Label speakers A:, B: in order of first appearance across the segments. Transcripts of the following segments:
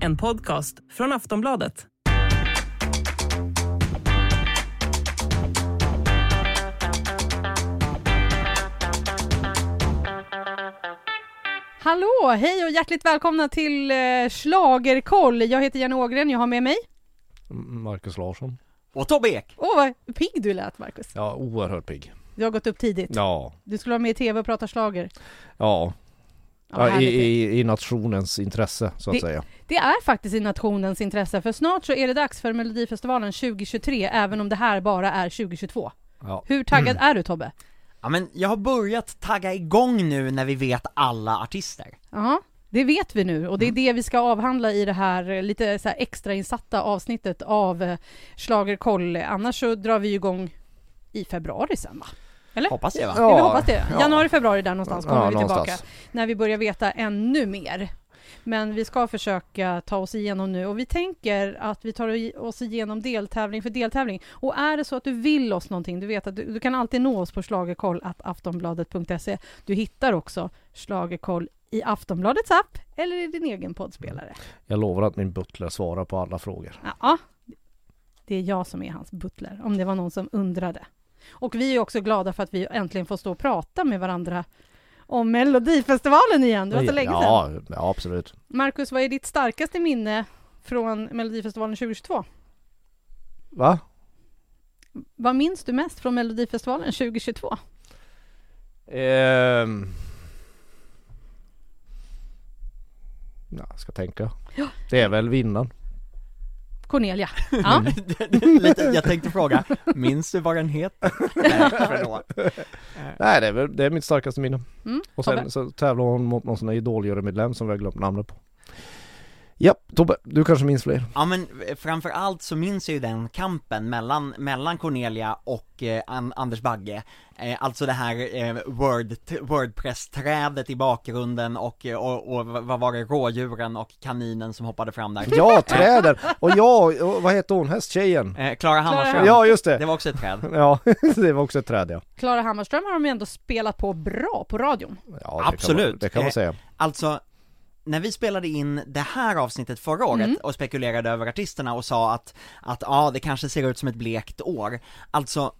A: En podcast från Aftonbladet.
B: Hallå, hej och hjärtligt välkomna till eh, Schlagerkoll. Jag heter Jenny Ågren, jag har med mig...
C: Marcus Larsson.
D: Och Tobbe Ek!
B: Åh, vad pigg du lät, Markus.
C: Ja, oerhört pigg.
B: Du har gått upp tidigt.
C: Ja,
B: Du skulle vara med i tv och prata schlager.
C: ja.
B: Ja,
C: ja i,
B: härligt.
C: i, I nationens intresse så att
B: Det-
C: säga.
B: Det är faktiskt i nationens intresse, för snart så är det dags för Melodifestivalen 2023, även om det här bara är 2022.
C: Ja.
B: Hur taggad
C: Mm.
B: är du, Tobbe?
D: Ja men jag har börjat tagga igång nu när vi vet alla artister.
B: Ja, det vet vi nu och det är
C: Mm.
B: det vi ska avhandla i det här eh, lite så här extrainsatta avsnittet av eh, Schlagerkoll. Annars så drar vi ju igång i februari sen va? Eller?
D: Hoppas det va?
C: Ja.
B: Ja, vi hoppas det.
C: ja.
B: Januari, februari där någonstans kommer
C: Ja,
B: vi tillbaka.
C: någonstans.
B: När vi börjar veta ännu mer. Men vi ska försöka ta oss igenom nu och vi tänker att vi tar i- oss igenom deltävling för deltävling. Och är det så att du vill oss någonting, du vet att du, du kan alltid nå oss på schlagerkoll.aftonbladet.se. Du hittar också Schlagerkoll i Aftonbladets app eller i din egen poddspelare.
C: Jag lovar att min butler svarar på alla frågor.
B: Ja, det är jag som är hans butler, om det var någon som undrade. Och vi är också glada för att vi äntligen får stå och prata med varandra om Melodifestivalen igen. Det var så länge sedan.
C: ja, ja, absolut.
B: Marcus, vad är ditt starkaste minne från Melodifestivalen 2022?
C: Va?
B: Vad minns du mest från Melodifestivalen 2022?
C: Ehm... Ja, jag ska tänka. Det är väl vinnaren.
B: Cornelia. Ja.
D: Lite, jag tänkte fråga, minns du vad den heter? Nej, förlåt.
C: Nej, det är, väl, det är mitt starkaste minne.
B: Mm.
C: Och
B: Tobbe?
C: sen så tävlar hon mot någon sån här idoljurymedlem som vi har glömt namnet på. Ja, Tobbe, du kanske minns fler?
D: Ja men eh, framförallt så minns jag ju den kampen mellan, mellan Cornelia och eh, An- Anders Bagge eh, Alltså det här eh, Word, t- Wordpress-trädet i bakgrunden och, eh, och, och vad vad var det, rådjuren och kaninen som hoppade fram där?
C: Ja, träden! Och jag, och vad heter hon, hästtjejen?
D: Eh, Klara Hammarström,
C: Ja, just
D: det
C: det!
D: var också ett träd
C: Ja, det var också ett träd ja.
B: Klara Hammarström har de ju ändå spelat på bra på radion.
C: ja det Kan man,
D: Absolut.
C: det kan man säga.
D: Alltså, när vi spelade in det här avsnittet förra året och spekulerade över artisterna och sa att, att ja, det kanske ser ut som ett blekt år. Alltså,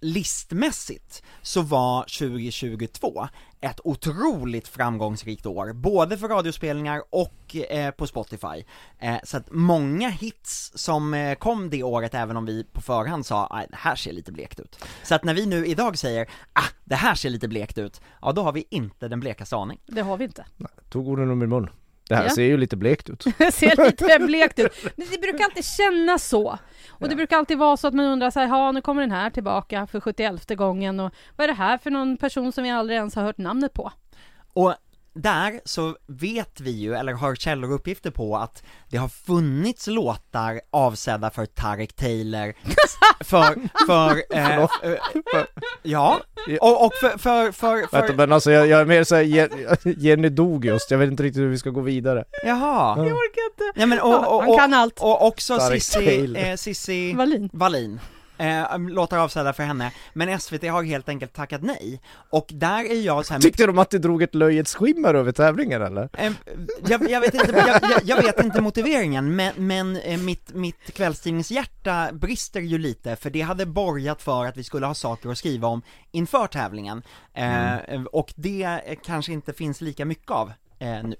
D: listmässigt så var 2022 ett otroligt framgångsrikt år, både för radiospelningar och eh, på Spotify. Eh, så att många hits som eh, kom det året, även om vi på förhand sa att det här ser lite blekt ut. Så att när vi nu idag säger ah, det här ser lite blekt ut, ja då har vi inte den blekaste aning.
B: Det har vi inte.
C: Tog orden ur min mun. Det här
B: Ja.
C: ser ju lite blekt ut.
B: Det ser lite blekt ut. Men det brukar alltid kännas så. Och det brukar alltid vara så att man undrar så här, ja nu kommer den här tillbaka för 71 gången och vad är det här för någon person som vi aldrig ens har hört namnet på?
D: Och där så vet vi ju, eller har källor och uppgifter på att det har funnits låtar avsedda för Tarek Taylor, för, för, eh,
C: Förlåt.
D: eh, ja, och, och för, för, för,
C: Vänta,
D: för,
C: men alltså jag, jag är mer såhär, Jen- Jenny dog just, jag vet inte riktigt hur vi ska gå vidare.
D: jaha.
B: Jag orkar inte.
D: Ja, men, och, och,
B: Han
D: och,
B: kan allt.
D: och också
C: Tarek
D: Sissi,
C: Taylor.
D: eh, Sissi
B: Wallin.
D: Wallin. Eh, låtar avsedda för henne, men SVT har helt enkelt tackat nej. Och där är jag så här
C: Tyckte de att det drog ett löjets skimmer över tävlingen eller?
D: Em, Jag, jag, vet inte, jag, jag, jag vet inte motiveringen, men, men eh, mitt, mitt kvällstidningshjärta brister ju lite, för det hade borgat för att vi skulle ha saker att skriva om inför tävlingen. Eh, Och det eh, kanske inte finns lika mycket av eh, nu.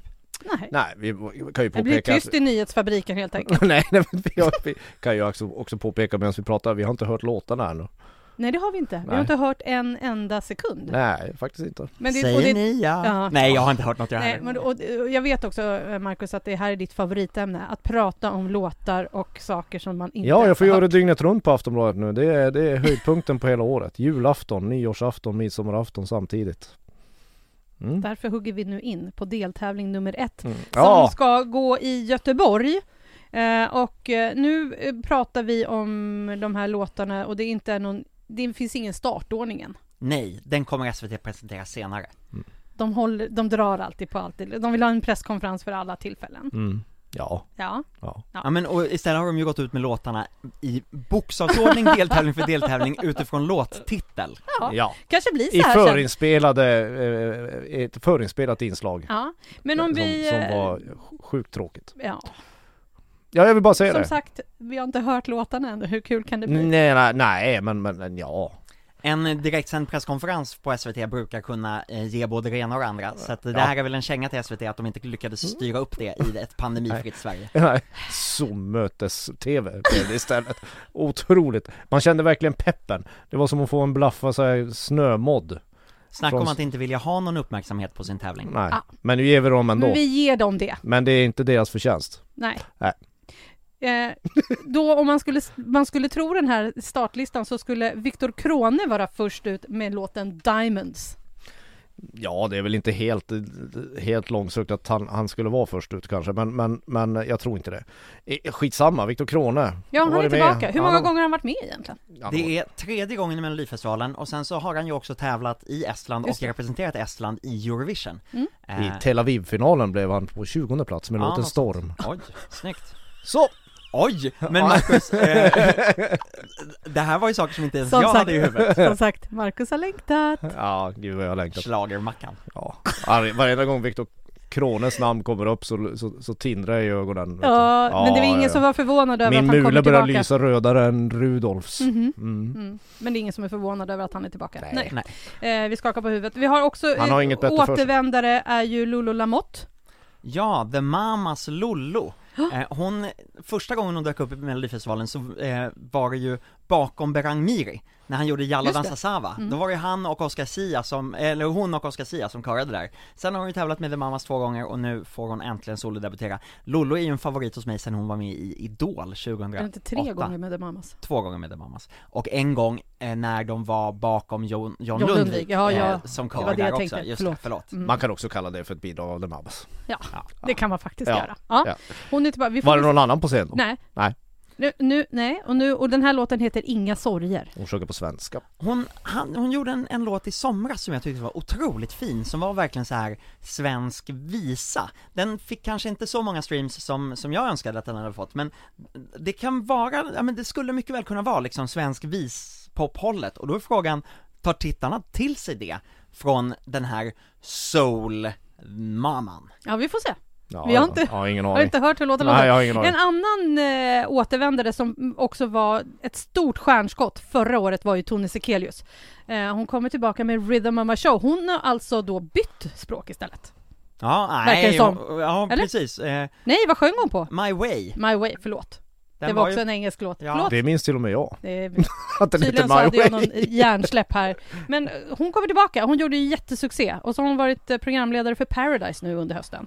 B: Nej.
C: Nej, vi vi kan ju
B: Det blir
C: påpeka att...
B: tyst i nyhetsfabriken helt enkelt.
C: Nej, nej men vi, har, vi kan ju också, också påpeka medan vi pratar, vi har inte hört låtarna ännu.
B: Nej det har vi inte. Vi har
C: Nej.
B: inte hört en enda sekund.
C: Nej, faktiskt inte.
B: Men det,
D: Säger
B: och det,
D: ni ja.
B: Ja.
D: Nej, jag har inte hört något jag
B: nej,
D: heller.
B: men, och, och jag vet också eh, Marcus att det här är ditt favoritämne, att prata om låtar och saker som man inte
C: Ja, jag får
B: har
C: göra det
B: hört.
C: dygnet runt på Aftonbladet nu. Det är, det är höjdpunkten på hela året. Julafton, nyårsafton, midsommarafton samtidigt. Mm.
B: Därför hugger vi nu in på deltävling nummer ett
C: Mm.
B: som
C: Ja,
B: ska gå i Göteborg. Eh, och eh, nu eh, pratar vi om de här låtarna och det, är inte är någon, det finns ingen startordningen.
D: Nej, den kommer SVT presentera senare.
B: De, håller, de drar alltid på allt. De vill ha en presskonferens för alla tillfällen.
C: mm. Ja,
B: Ja.
C: ja.
D: Ja men och istället har de ju gått ut med låtarna i bokstavsordning, deltävling för deltävling utifrån låttitel.
B: ja.
C: ja.
B: Kanske blir så
C: I
B: här sen.
C: förinspelade, eh, ett förinspelat inslag.
B: Ja. Men om
C: som,
B: vi...
C: som
B: eh,
C: var sjukt tråkigt.
B: Ja.
C: Ja, jag vill bara säga
B: Som
C: det.
B: sagt, vi har inte hört låtarna ännu. Hur kul kan det bli?
C: Nej, nej, nej, men, men, men ja.
D: En direktsänd presskonferens på SVT brukar kunna eh, ge både det ena och det andra, så att det
C: Ja.
D: här är väl en känga till SVT att de inte lyckades
B: Mm.
D: styra upp det i ett pandemifritt Sverige.
C: Nej, Zoom-mötes-tv blev det istället. Otroligt. Man kände verkligen peppen. Det var som att få en blaffa så här snömodd.
D: Snacka om
C: Från-
D: att inte vilja ha någon uppmärksamhet på sin tävling.
C: Nej,
B: Ah.
C: men nu ger vi dem ändå.
B: Men vi ger dem det.
C: Men det är inte deras förtjänst.
B: Nej.
C: Nej.
B: Eh, då om man skulle, man skulle tro den här startlistan så skulle Viktor Krone vara först ut med låten Diamonds.
C: Ja, det är väl inte helt, helt långsökt att han, han skulle vara först ut kanske, men, men, men jag tror inte det. Eh, Skitsamma, Viktor Krone.
B: Ja, han
C: har
B: är
C: varit med.
B: tillbaka. Hur
C: Han
B: många
C: har-
B: gånger har han varit med egentligen?
C: han har-
D: Det är tredje gången i Melodifestivalen och sen så har han ju också tävlat i Estland
B: Just
D: och
B: det.
D: representerat Estland i Eurovision.
B: Mm.
D: Eh,
C: I Tel Aviv-finalen blev han på 20 plats med
D: Ja,
C: låten
D: något
C: Storm.
D: Oj, snyggt.
C: Så!
D: Oj! Men Marcus, eh, det här var ju saker som inte ens
B: Som
D: jag
B: sagt.
D: hade i huvudet.
B: Som sagt, Marcus har längtat.
C: Ja, gud vad jag längtar.
D: Schlagermackan.
C: Ja, varje- varenda gång Viktor Krones namn kommer upp så, så, så tindrar jag i ögonen. vet du.
B: Ja, men det var
C: Ja,
B: ingen
C: ja,
B: som
C: ja.
B: var förvånad över
C: Min
B: att han kommer
C: mule
B: tillbaka.
C: börjar lysa rödare än Rudolfs.
B: Mhm.
C: Mm.
B: Mm. Men det är ingen som är förvånad över att han är tillbaka. Nej.
C: Nej.
D: Nej.
B: Eh, vi skakar på huvudet. Vi har också
C: Han har
B: eh,
C: inget bättre för sig.
B: återvändare är ju Lulu Lamotte.
D: Ja, The Mamas Lollo. Eh, hon, första gången hon dök upp i Melodifestivalen så eh, var det ju bakom Berang Miri, när han gjorde Jalla
B: Just det. Mm.
D: dansa Sava. Då var det ju han och Oscar Sia som, eller hon och Oscar Sia som körade där. Sen har hon ju tävlat med The Mamas två gånger och nu får hon äntligen solodebutera. Lollo är ju en favorit hos mig sen hon var med i Idol 2008.
B: Är det inte tre gånger med The Mamas?
D: Två gånger med The Mamas. Och en gång eh, när de var bakom John, John,
B: John
D: Lundvik, eh,
B: Lundvik, ja, ja.
D: som
B: var
D: kör
B: det
D: där
B: jag
D: också.
B: tänkte.
D: Just
B: Förlåt.
D: Det, förlåt.
B: Mm.
C: Man kan också kalla det för ett bidrag av The Mamas.
B: Det kan man faktiskt
C: Ja.
B: göra. Ja.
C: Ja.
B: Hon är tillbaka. Vi får
C: Var det någon annan på scen då?
B: Nej.
C: Nej.
B: Nu, nu, nej, och, nu, och den här låten heter Inga sorger.
C: Hon sjunger på svenska.
D: Hon, han, hon gjorde en, en låt i somras som jag tyckte var otroligt fin, som var verkligen så här svensk visa. Den fick kanske inte så många streams som, som jag önskade att den hade fått, men det kan vara, ja men det skulle mycket väl kunna vara liksom svensk vispop-hållet, och då är frågan, tar tittarna till sig det från den här soul-maman?
B: Ja, vi får se.
C: Ja,
B: Vi har
C: ja.
B: inte-
C: Ja, ingen
B: Har du
C: aning.
B: inte hört hur låten
C: Nej,
B: låter?
C: jag har ingen aning.
B: En annan eh, återvändare som också var ett stort stjärnskott förra året var ju Tone Sekelius. Eh, hon kommer tillbaka med Rhythm of my show. Hon har alltså då bytt språk istället.
D: Ja,
B: Verkar det
D: nej,
B: som.
D: och- ja
B: Eller?
D: precis. Eh,
B: Nej, vad sjöng hon på?
D: My way.
B: My way, förlåt.
D: Den
B: det var, också en engelsk låt.
D: Ja.
B: Förlåt.
C: Det minns till och med jag.
B: Det är
C: Att den heter
B: Tydligen så hade
C: My
B: jag
C: Way.
B: någon hjärnsläpp här. Men eh, hon kommer tillbaka, hon gjorde ju jättesuccé och så har hon varit eh, programledare för Paradise nu under hösten.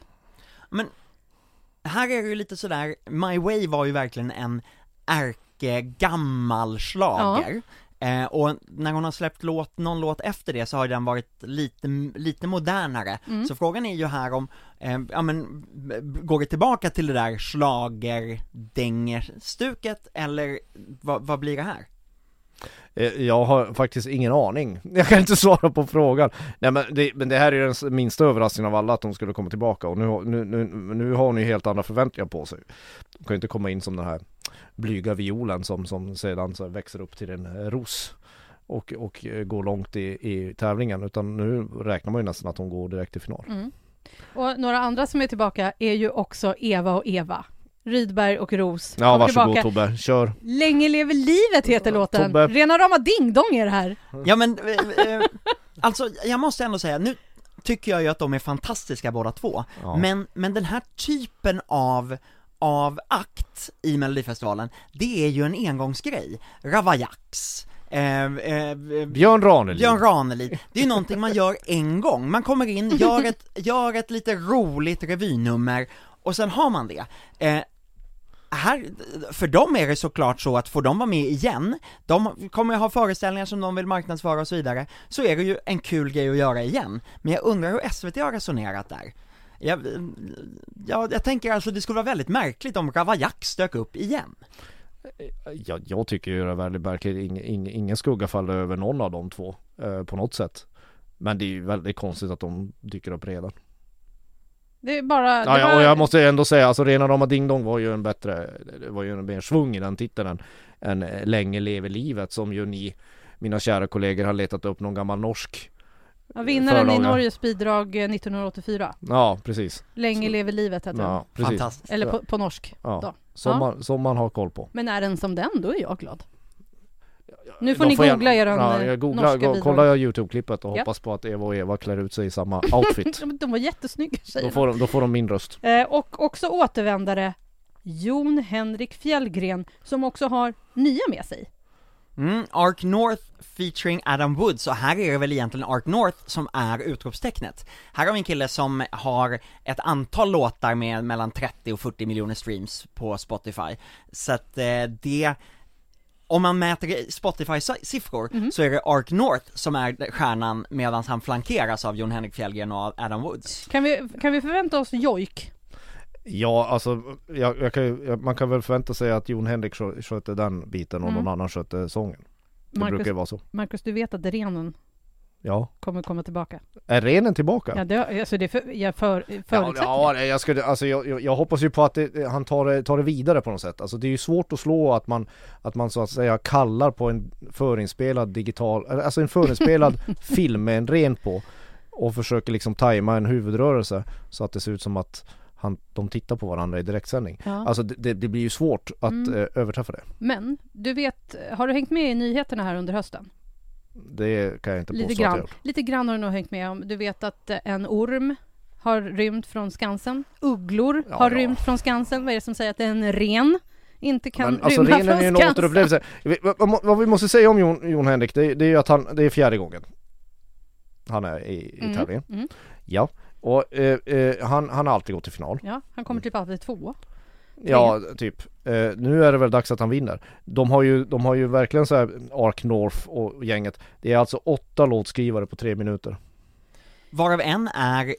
D: Här är det ju lite sådär, My Way var ju verkligen en ärkegammal schlager. Eh, och när hon har släppt låt, någon låt efter det så har den varit lite, lite modernare.
C: Mm.
B: Mm.
D: Så frågan är ju här om, eh, ja men, b- b- går det tillbaka till det där schlagerdängerstuket eller vad, vad blir det här?
C: Eh, Jag har faktiskt ingen aning. Jag kan inte svara på frågan. Nej men det, men det här är ju den s- minsta överraskningen av alla att hon skulle komma tillbaka och nu, har- nu, nu, nu har hon ju helt andra förväntningar på sig. Hon kan ju inte komma in som den här blyga violen som, som sedan så här växer upp till en eh, ros och, och eh, går långt i, i tävlingen utan nu räknar man ju nästan att hon går direkt till final.
B: Och några andra som är tillbaka är ju också Eva och Eva. Rydberg och Ros
C: Ja
B: kommer
C: varsågod
B: tillbaka.
C: Tobbe, kör!
B: Länge lever livet heter låten.
C: Tobbe.
B: Rena rama dingdong är det här.
D: Ja men, eh, eh, alltså jag måste ändå säga, nu tycker jag ju att de är fantastiska båda två,
C: Ja.
D: men, men den här typen av av akt i Melodifestivalen, det är ju en engångsgrej. Ravaillax, eh, eh, eh,
C: Björn Ranelid!
D: Björn Ranelid, det är ju någonting man gör en gång, man kommer in, gör ett, gör ett lite roligt revynummer och sen har man det. Eh, här, för dem är det såklart så att får de vara med igen, de kommer ha föreställningar som de vill marknadsföra och så vidare, så är det ju en kul grej att göra igen. Men jag undrar hur SVT har resonerat där. Jag, jag, jag tänker alltså det skulle vara väldigt märkligt om Ravaillax dök upp igen.
C: jag, jag tycker ju det är väldigt verkligen ing, ing, ingen skugga faller över någon av de två eh, på något sätt. Men det är ju väldigt konstigt att de dyker upp redan.
B: Det är bara...
C: Ja,
B: det
C: ja,
B: var...
C: och jag måste ändå säga, alltså rena rama Ding Dong var ju en bättre, det var ju en mer svung i den titeln än eh, Länge lever livet som ju ni, mina kära kollegor, har letat upp någon gammal norsk.
B: ja, vinnaren i
C: förlaga.
B: Norges bidrag eh, 1984.
C: Ja, precis.
B: Länge lever livet heter den.
C: Ja, precis.
D: Fantastiskt.
B: Eller på, på norsk. typ.
C: Ja.
B: då.
C: Som, man, som man har koll på.
B: Men är den som den, då är jag glad. Nu får ni
C: jag-
B: googla er eh,
C: ja, jag googlar,
B: norska
C: go-
B: bidrag.
C: kollar jag YouTube-klippet och
B: Ja.
C: hoppas på att Eva och Eva klär ut sig i samma outfit.
B: Ja, men De var jättesnygga
C: då,
B: tjejerna.
C: får de, då får de min röst.
B: Eh, och också återvändare Jon Henrik Fjällgren som också har nya med sig.
D: Mm, Ark North featuring Adam Woods, och här är det väl egentligen Ark North som är utropstecknet. Här har vi en kille som har ett antal låtar med mellan 30 och 40 miljoner streams på Spotify. Så att eh, det, om man mäter Spotify-siffror så är det Ark North som är stjärnan medan han flankeras av Jon Henrik Fjällgren och av Adam Woods.
B: Kan vi, kan vi förvänta oss jojk?
C: Ja, alltså jag, jag kan, ju- jag, man kan väl förvänta sig att Jon Henrik skö- skötte den biten och någon annan skötte sången. Det
B: Mm. Marcus-
C: brukar ju vara så.
B: Marcus, du vet att renen
C: Ja.
B: kommer komma tillbaka?
C: Är renen tillbaka?
B: Ja, det, alltså det är för, jag för,
C: Ja,
B: förutsättning.
C: ja, det- jag, skulle, alltså jag, jag, jag hoppas ju på att det, han tar det, tar det vidare på något sätt. Alltså det är ju svårt att slå att man, att man så att säga kallar på en förinspelad digital, alltså en förinspelad film med en ren på och försöker liksom tajma en huvudrörelse så att det ser ut som att han, de tittar på varandra i direktsändning.
B: Ja. Mm.
C: Alltså det, det, det blir ju svårt att eh, överträffa det.
B: Men du vet, har du hängt med i nyheterna här under hösten?
C: Det kan jag inte
B: Lite
C: påstå att jag
B: grann,
C: gjort.
B: lite grann har du nog hängt med om. Du vet att eh, en orm har rymt från Skansen. Ugglor
C: Ja,
B: har
C: ja.
B: rymt från Skansen. Vad är det som säger att en ren inte kan
C: Men alltså
B: rymma
C: renen är
B: från
C: ju en
B: Skansen?
C: återupplevelse. Vi- vad- Vad vad vi måste säga om Jon, Jon Henrik, det, är- det är ju att han, det är fjärde gången han är i, i
B: Mm,
C: tävlingen.
B: mm.
C: Ja, och eh, eh, han, han har alltid gått till final.
B: Ja, han
C: Mm.
B: kommer typ alltid två.
C: Ja, typ. Eh, nu är det väl dags att han vinner. De har ju, de har ju verkligen så här Ark North och gänget. Det är alltså åtta låtskrivare på tre minuter.
D: Varav en är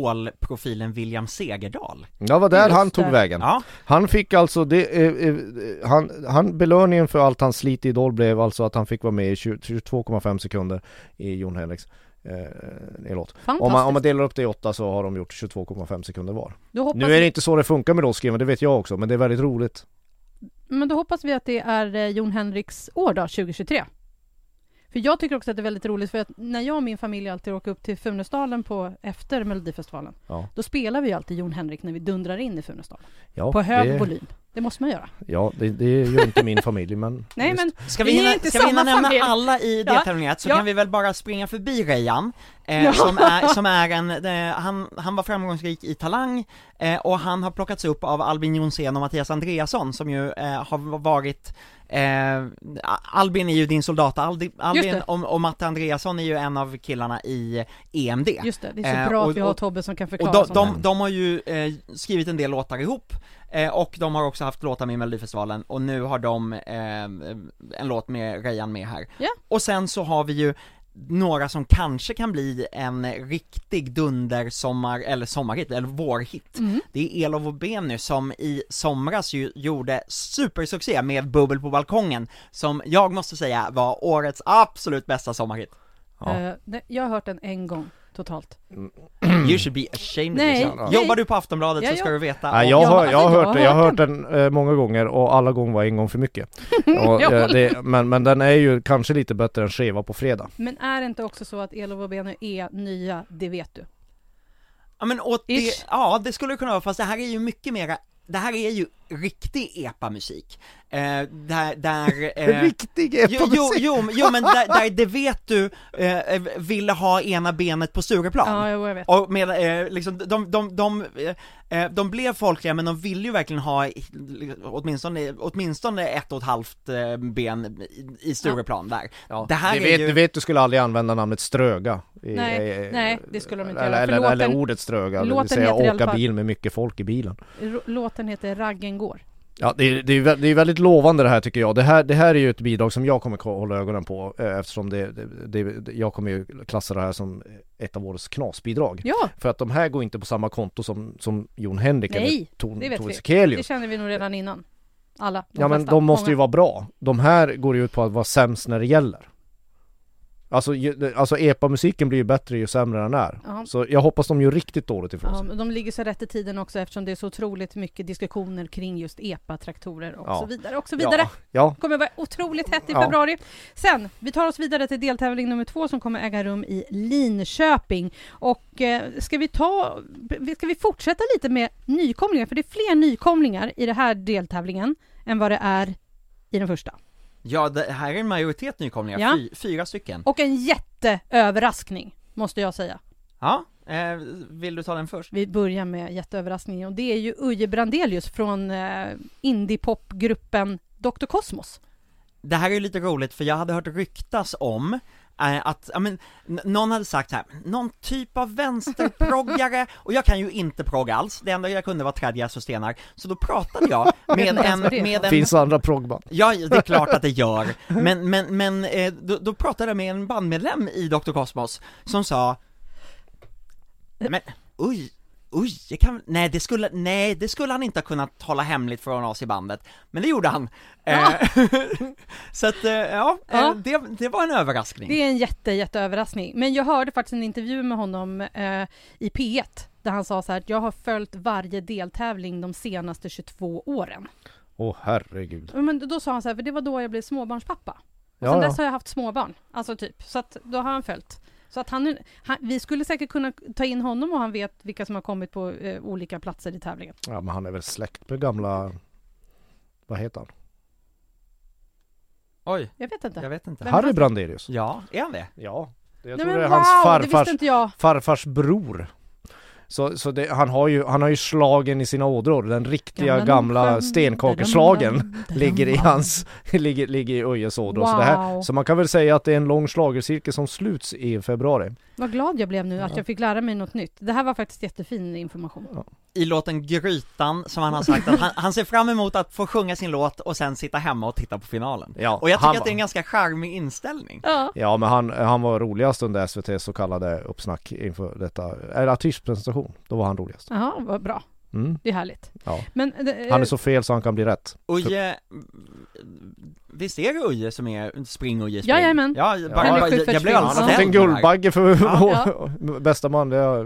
D: idolprofilen William Segerdahl.
C: Ja, var där
B: Just
C: han tog
B: det.
C: vägen.
D: Ja,
C: Han fick alltså, det, eh, eh, han, han, belöningen för allt hans slit i Idol blev alltså att han fick vara med i 20 22,5 sekunder i Jon Henriks eh, låt. Om
B: Fantastiskt.
C: man, om man delar upp det i åtta så har de gjort 22,5 sekunder var.
B: då hoppas
C: Nu är det inte så det funkar med låtskriven, det vet jag också, men det är väldigt roligt.
B: Men då hoppas vi att det är eh, Jon Henriks år då, 2023. För jag tycker också att det är väldigt roligt för att när jag och min familj alltid åker upp till Funäsdalen på efter Melodifestivalen,
C: Ja.
B: då spelar vi ju alltid Jon Henrik när vi dundrar in i Funäsdalen.
C: Ja,
B: På hög
C: det,
B: volym. Det måste man göra.
C: Ja, det, det gör inte min familj, men...
B: Nej
C: visst.
B: men
D: Ska vi
B: Vi är
D: hinna,
B: inte
D: ska vi hinna
B: samma
D: nämna
B: familj.
D: alla i
B: Ja,
D: deltävling ett så
B: ja.
D: kan vi väl bara springa förbi Rejan, eh, som, är, som är en, eh, han, han var framgångsrik i Talang, eh, och han har plockats upp av Albin Jonsén och Mattias Andreasson som ju eh, har varit Eh, Albin är ju din soldat Aldi,
B: Just
D: Albin
B: det.
D: och, och Matte Andreasson är ju en av killarna i EMD
B: just det, det är så
D: Eh,
B: bra
D: och-
B: att vi har
D: och-
B: Tobbe som kan förklara
D: och de,
B: sånt här.
D: de, de har ju eh, skrivit en del låtar ihop, eh, och de har också haft låtar med i Melodifestivalen, och nu har de eh, en låt med Rejan med här.
B: Ja.
D: Och sen så har vi ju några som kanske kan bli en riktig dunder sommar, eller sommarhit, eller vårhit.
B: Mm.
D: Det är Elof och Beny som i somras ju gjorde supersuccé med Bubbel på balkongen, som jag måste säga var årets absolut bästa sommarhit.
C: Ja.
B: Eh, nej, jag har hört den en gång totalt.
D: You should be ashamed
B: Nej,
D: of yourself.
B: nej.
D: Jobbar du på Aftonbladet
B: Ja,
D: så ska
B: ja.
D: du veta
C: Nej,
D: om-
C: jag,
B: Ja,
C: har,
B: alltså,
C: jag har hört den, jag har hört
B: den.
C: den eh, många gånger och alla gånger var en gång för mycket. Och, eh, det, men, men den är ju kanske lite bättre än Skeva på fredag.
B: Men är det inte också så att Elof och Beny är nya, det vet du?
D: Ja men åt det,
B: Ish.
D: ja det skulle det kunna vara, fast det här är ju mycket mera, det här är ju riktig epamusik. Eh, där, där... Eh,
C: Riktig
D: Jo, jo, jo, men- jo men där, där det vet du eh, ville ha ena benet på Stureplan.
B: Ja, jo, jag vet.
D: Och med, eh, liksom, de, de, de, eh, eh, de blev folkliga men de ville ju verkligen ha i- åtminstone, åtminstone ett och ett halvt eh, ben i- i Stureplan där.
C: Ja,
D: Det här
C: du,
D: är
C: vet,
D: ju-
C: du vet, du skulle aldrig använda namnet ströga. I,
B: Nej,
C: eh,
B: nej, det skulle de inte
C: eller,
B: göra, för
C: eller, eller
B: låten-
C: ordet ströga, det vill
B: låten
C: säga
B: heter i alla
C: åka
B: fall-
C: bil med mycket folk i bilen.
B: R- Låten heter Raggen går.
C: Ja, det, är- det, är, vä- det är väldigt lovande det här tycker jag. Det här, det här är ju ett bidrag som jag kommer ko- hålla ögonen på eh, eftersom det, det, det, jag kommer ju klassa det här som ett av årets knasbidrag.
B: Ja,
C: För att de här går inte på samma konto som, som Jon Henrik eller
B: Nej, det
C: Tor-
B: vet vi.
C: Tove
B: det
C: Sekelius.
B: kände vi nog redan innan. Alla.
C: Ja men
B: flesta,
C: de måste ju
B: många.
C: vara bra. De här går ju ut på att vara sämst när det gäller. Alltså, ju- alltså epa-musiken blir ju bättre ju sämre den är.
B: Ja.
C: Så jag hoppas de gör riktigt dåligt ifrån
B: Ja,
C: sig.
B: men de ligger så rätt i tiden också eftersom det är så otroligt mycket diskussioner kring just EPA-traktorer och
C: Ja.
B: så vidare och så vidare.
C: Ja,
B: kommer vara otroligt hett i
C: Ja.
B: februari. Sen, vi tar oss vidare till deltävling nummer två som kommer äga rum i Linköping. Och eh, ska vi ta, b- ska vi fortsätta lite med nykomlingar? För det är fler nykomlingar i den här deltävlingen än vad det är i den första.
D: Ja, det här är en majoritet nykomlingar,
B: Ja.
D: Fy, fyra stycken.
B: Och en jätteöverraskning, måste jag säga.
D: Ja, eh, vill du ta den först?
B: Vi börjar med jätteöverraskningen och det är ju Uje Brandelius från eh, indiepopgruppen Dr. Kosmos.
D: Det här är ju lite roligt för jag hade hört ryktas om eh, att, ja men, n- någon hade sagt så här, någon typ av vänsterproggare, och jag kan ju inte progga alls, det enda jag kunde var trädgräs och stenar, så då pratade jag med
B: inte
D: en,
B: ens vad det är.
D: med en
C: finns andra proggband.
D: Ja, det är klart att det gör. Men, men, men eh, då, då pratade jag med en bandmedlem i Dr. Cosmos som sa Men, oj, oj, det kan, nej, det skulle, nej, det skulle han inte ha kunnat hålla hemligt från oss i bandet. Men det gjorde han. Eh, så att, eh, ja,
B: Ja.
D: Eh, det, det var en överraskning.
B: Det är en jätte, jätteöverraskning. Men jag hörde faktiskt en intervju med honom eh, i P1 där han sa så här att jag har följt varje deltävling de senaste 22 åren.
C: Åh herregud.
B: Men då sa han så här, för det var då jag blev småbarnspappa. Och
C: Ja,
B: sen
C: ja.
B: dess har jag haft småbarn, alltså typ. Så att då har han följt. Så att han, nu- han, vi skulle säkert kunna ta in honom och han vet vilka som har kommit på eh, olika platser i tävlingen.
C: Ja, men han är väl släkt med gamla... Vad heter han?
D: Oj,
B: Jag vet inte.
D: jag vet inte.
B: Vem
C: Harry
B: fanns-
C: Brandelius?
D: Ja, är han det?
C: Ja, det- jag
B: Nej,
C: tror
B: men
C: det är
B: wow,
C: hans
B: det
C: farfars,
B: visste inte jag.
C: farfars bror. Så, så det, han, har ju, han har ju slagen i sina ådror, den riktiga
B: Gamla
C: gamla,
B: Nordsjön,
C: stenkakeslagen
B: dadadam,
C: ligger i
B: dadadam.
C: hans, ligger, ligger i Öjes ådror. Så, det
B: Wow.
C: här, så man kan väl säga att det är en lång schlagercirkel som sluts i februari.
B: Vad glad jag blev nu att jag fick lära mig något nytt. Det här var faktiskt jättefin information.
D: I låten Grytan som han har sagt att han, han ser fram emot att få sjunga sin låt och sen sitta hemma och titta på finalen.
C: Ja,
D: Och jag tycker
C: han
D: att det är en
C: var-
D: ganska charmig inställning.
B: Ja.
C: Ja men han, han var roligast under SVTs så kallade uppsnack inför detta, eller artistpresentation, då var han roligast.
B: Ja, vad bra.
C: Mm,
B: Det är härligt.
C: ja.
B: Men, eh,
C: Han är så fel så han kan bli rätt.
D: Uje, visst är det Uje som är spring Uje spring?
B: Jajamän.
D: Ja, bara,
B: Han är
D: bara,
B: sju
D: jag,
B: för
D: jag blev
B: spring.
D: alldeles
C: Han har fått en
D: ställd här.
C: guldbagge för
B: Ja.
C: bästa manliga eh,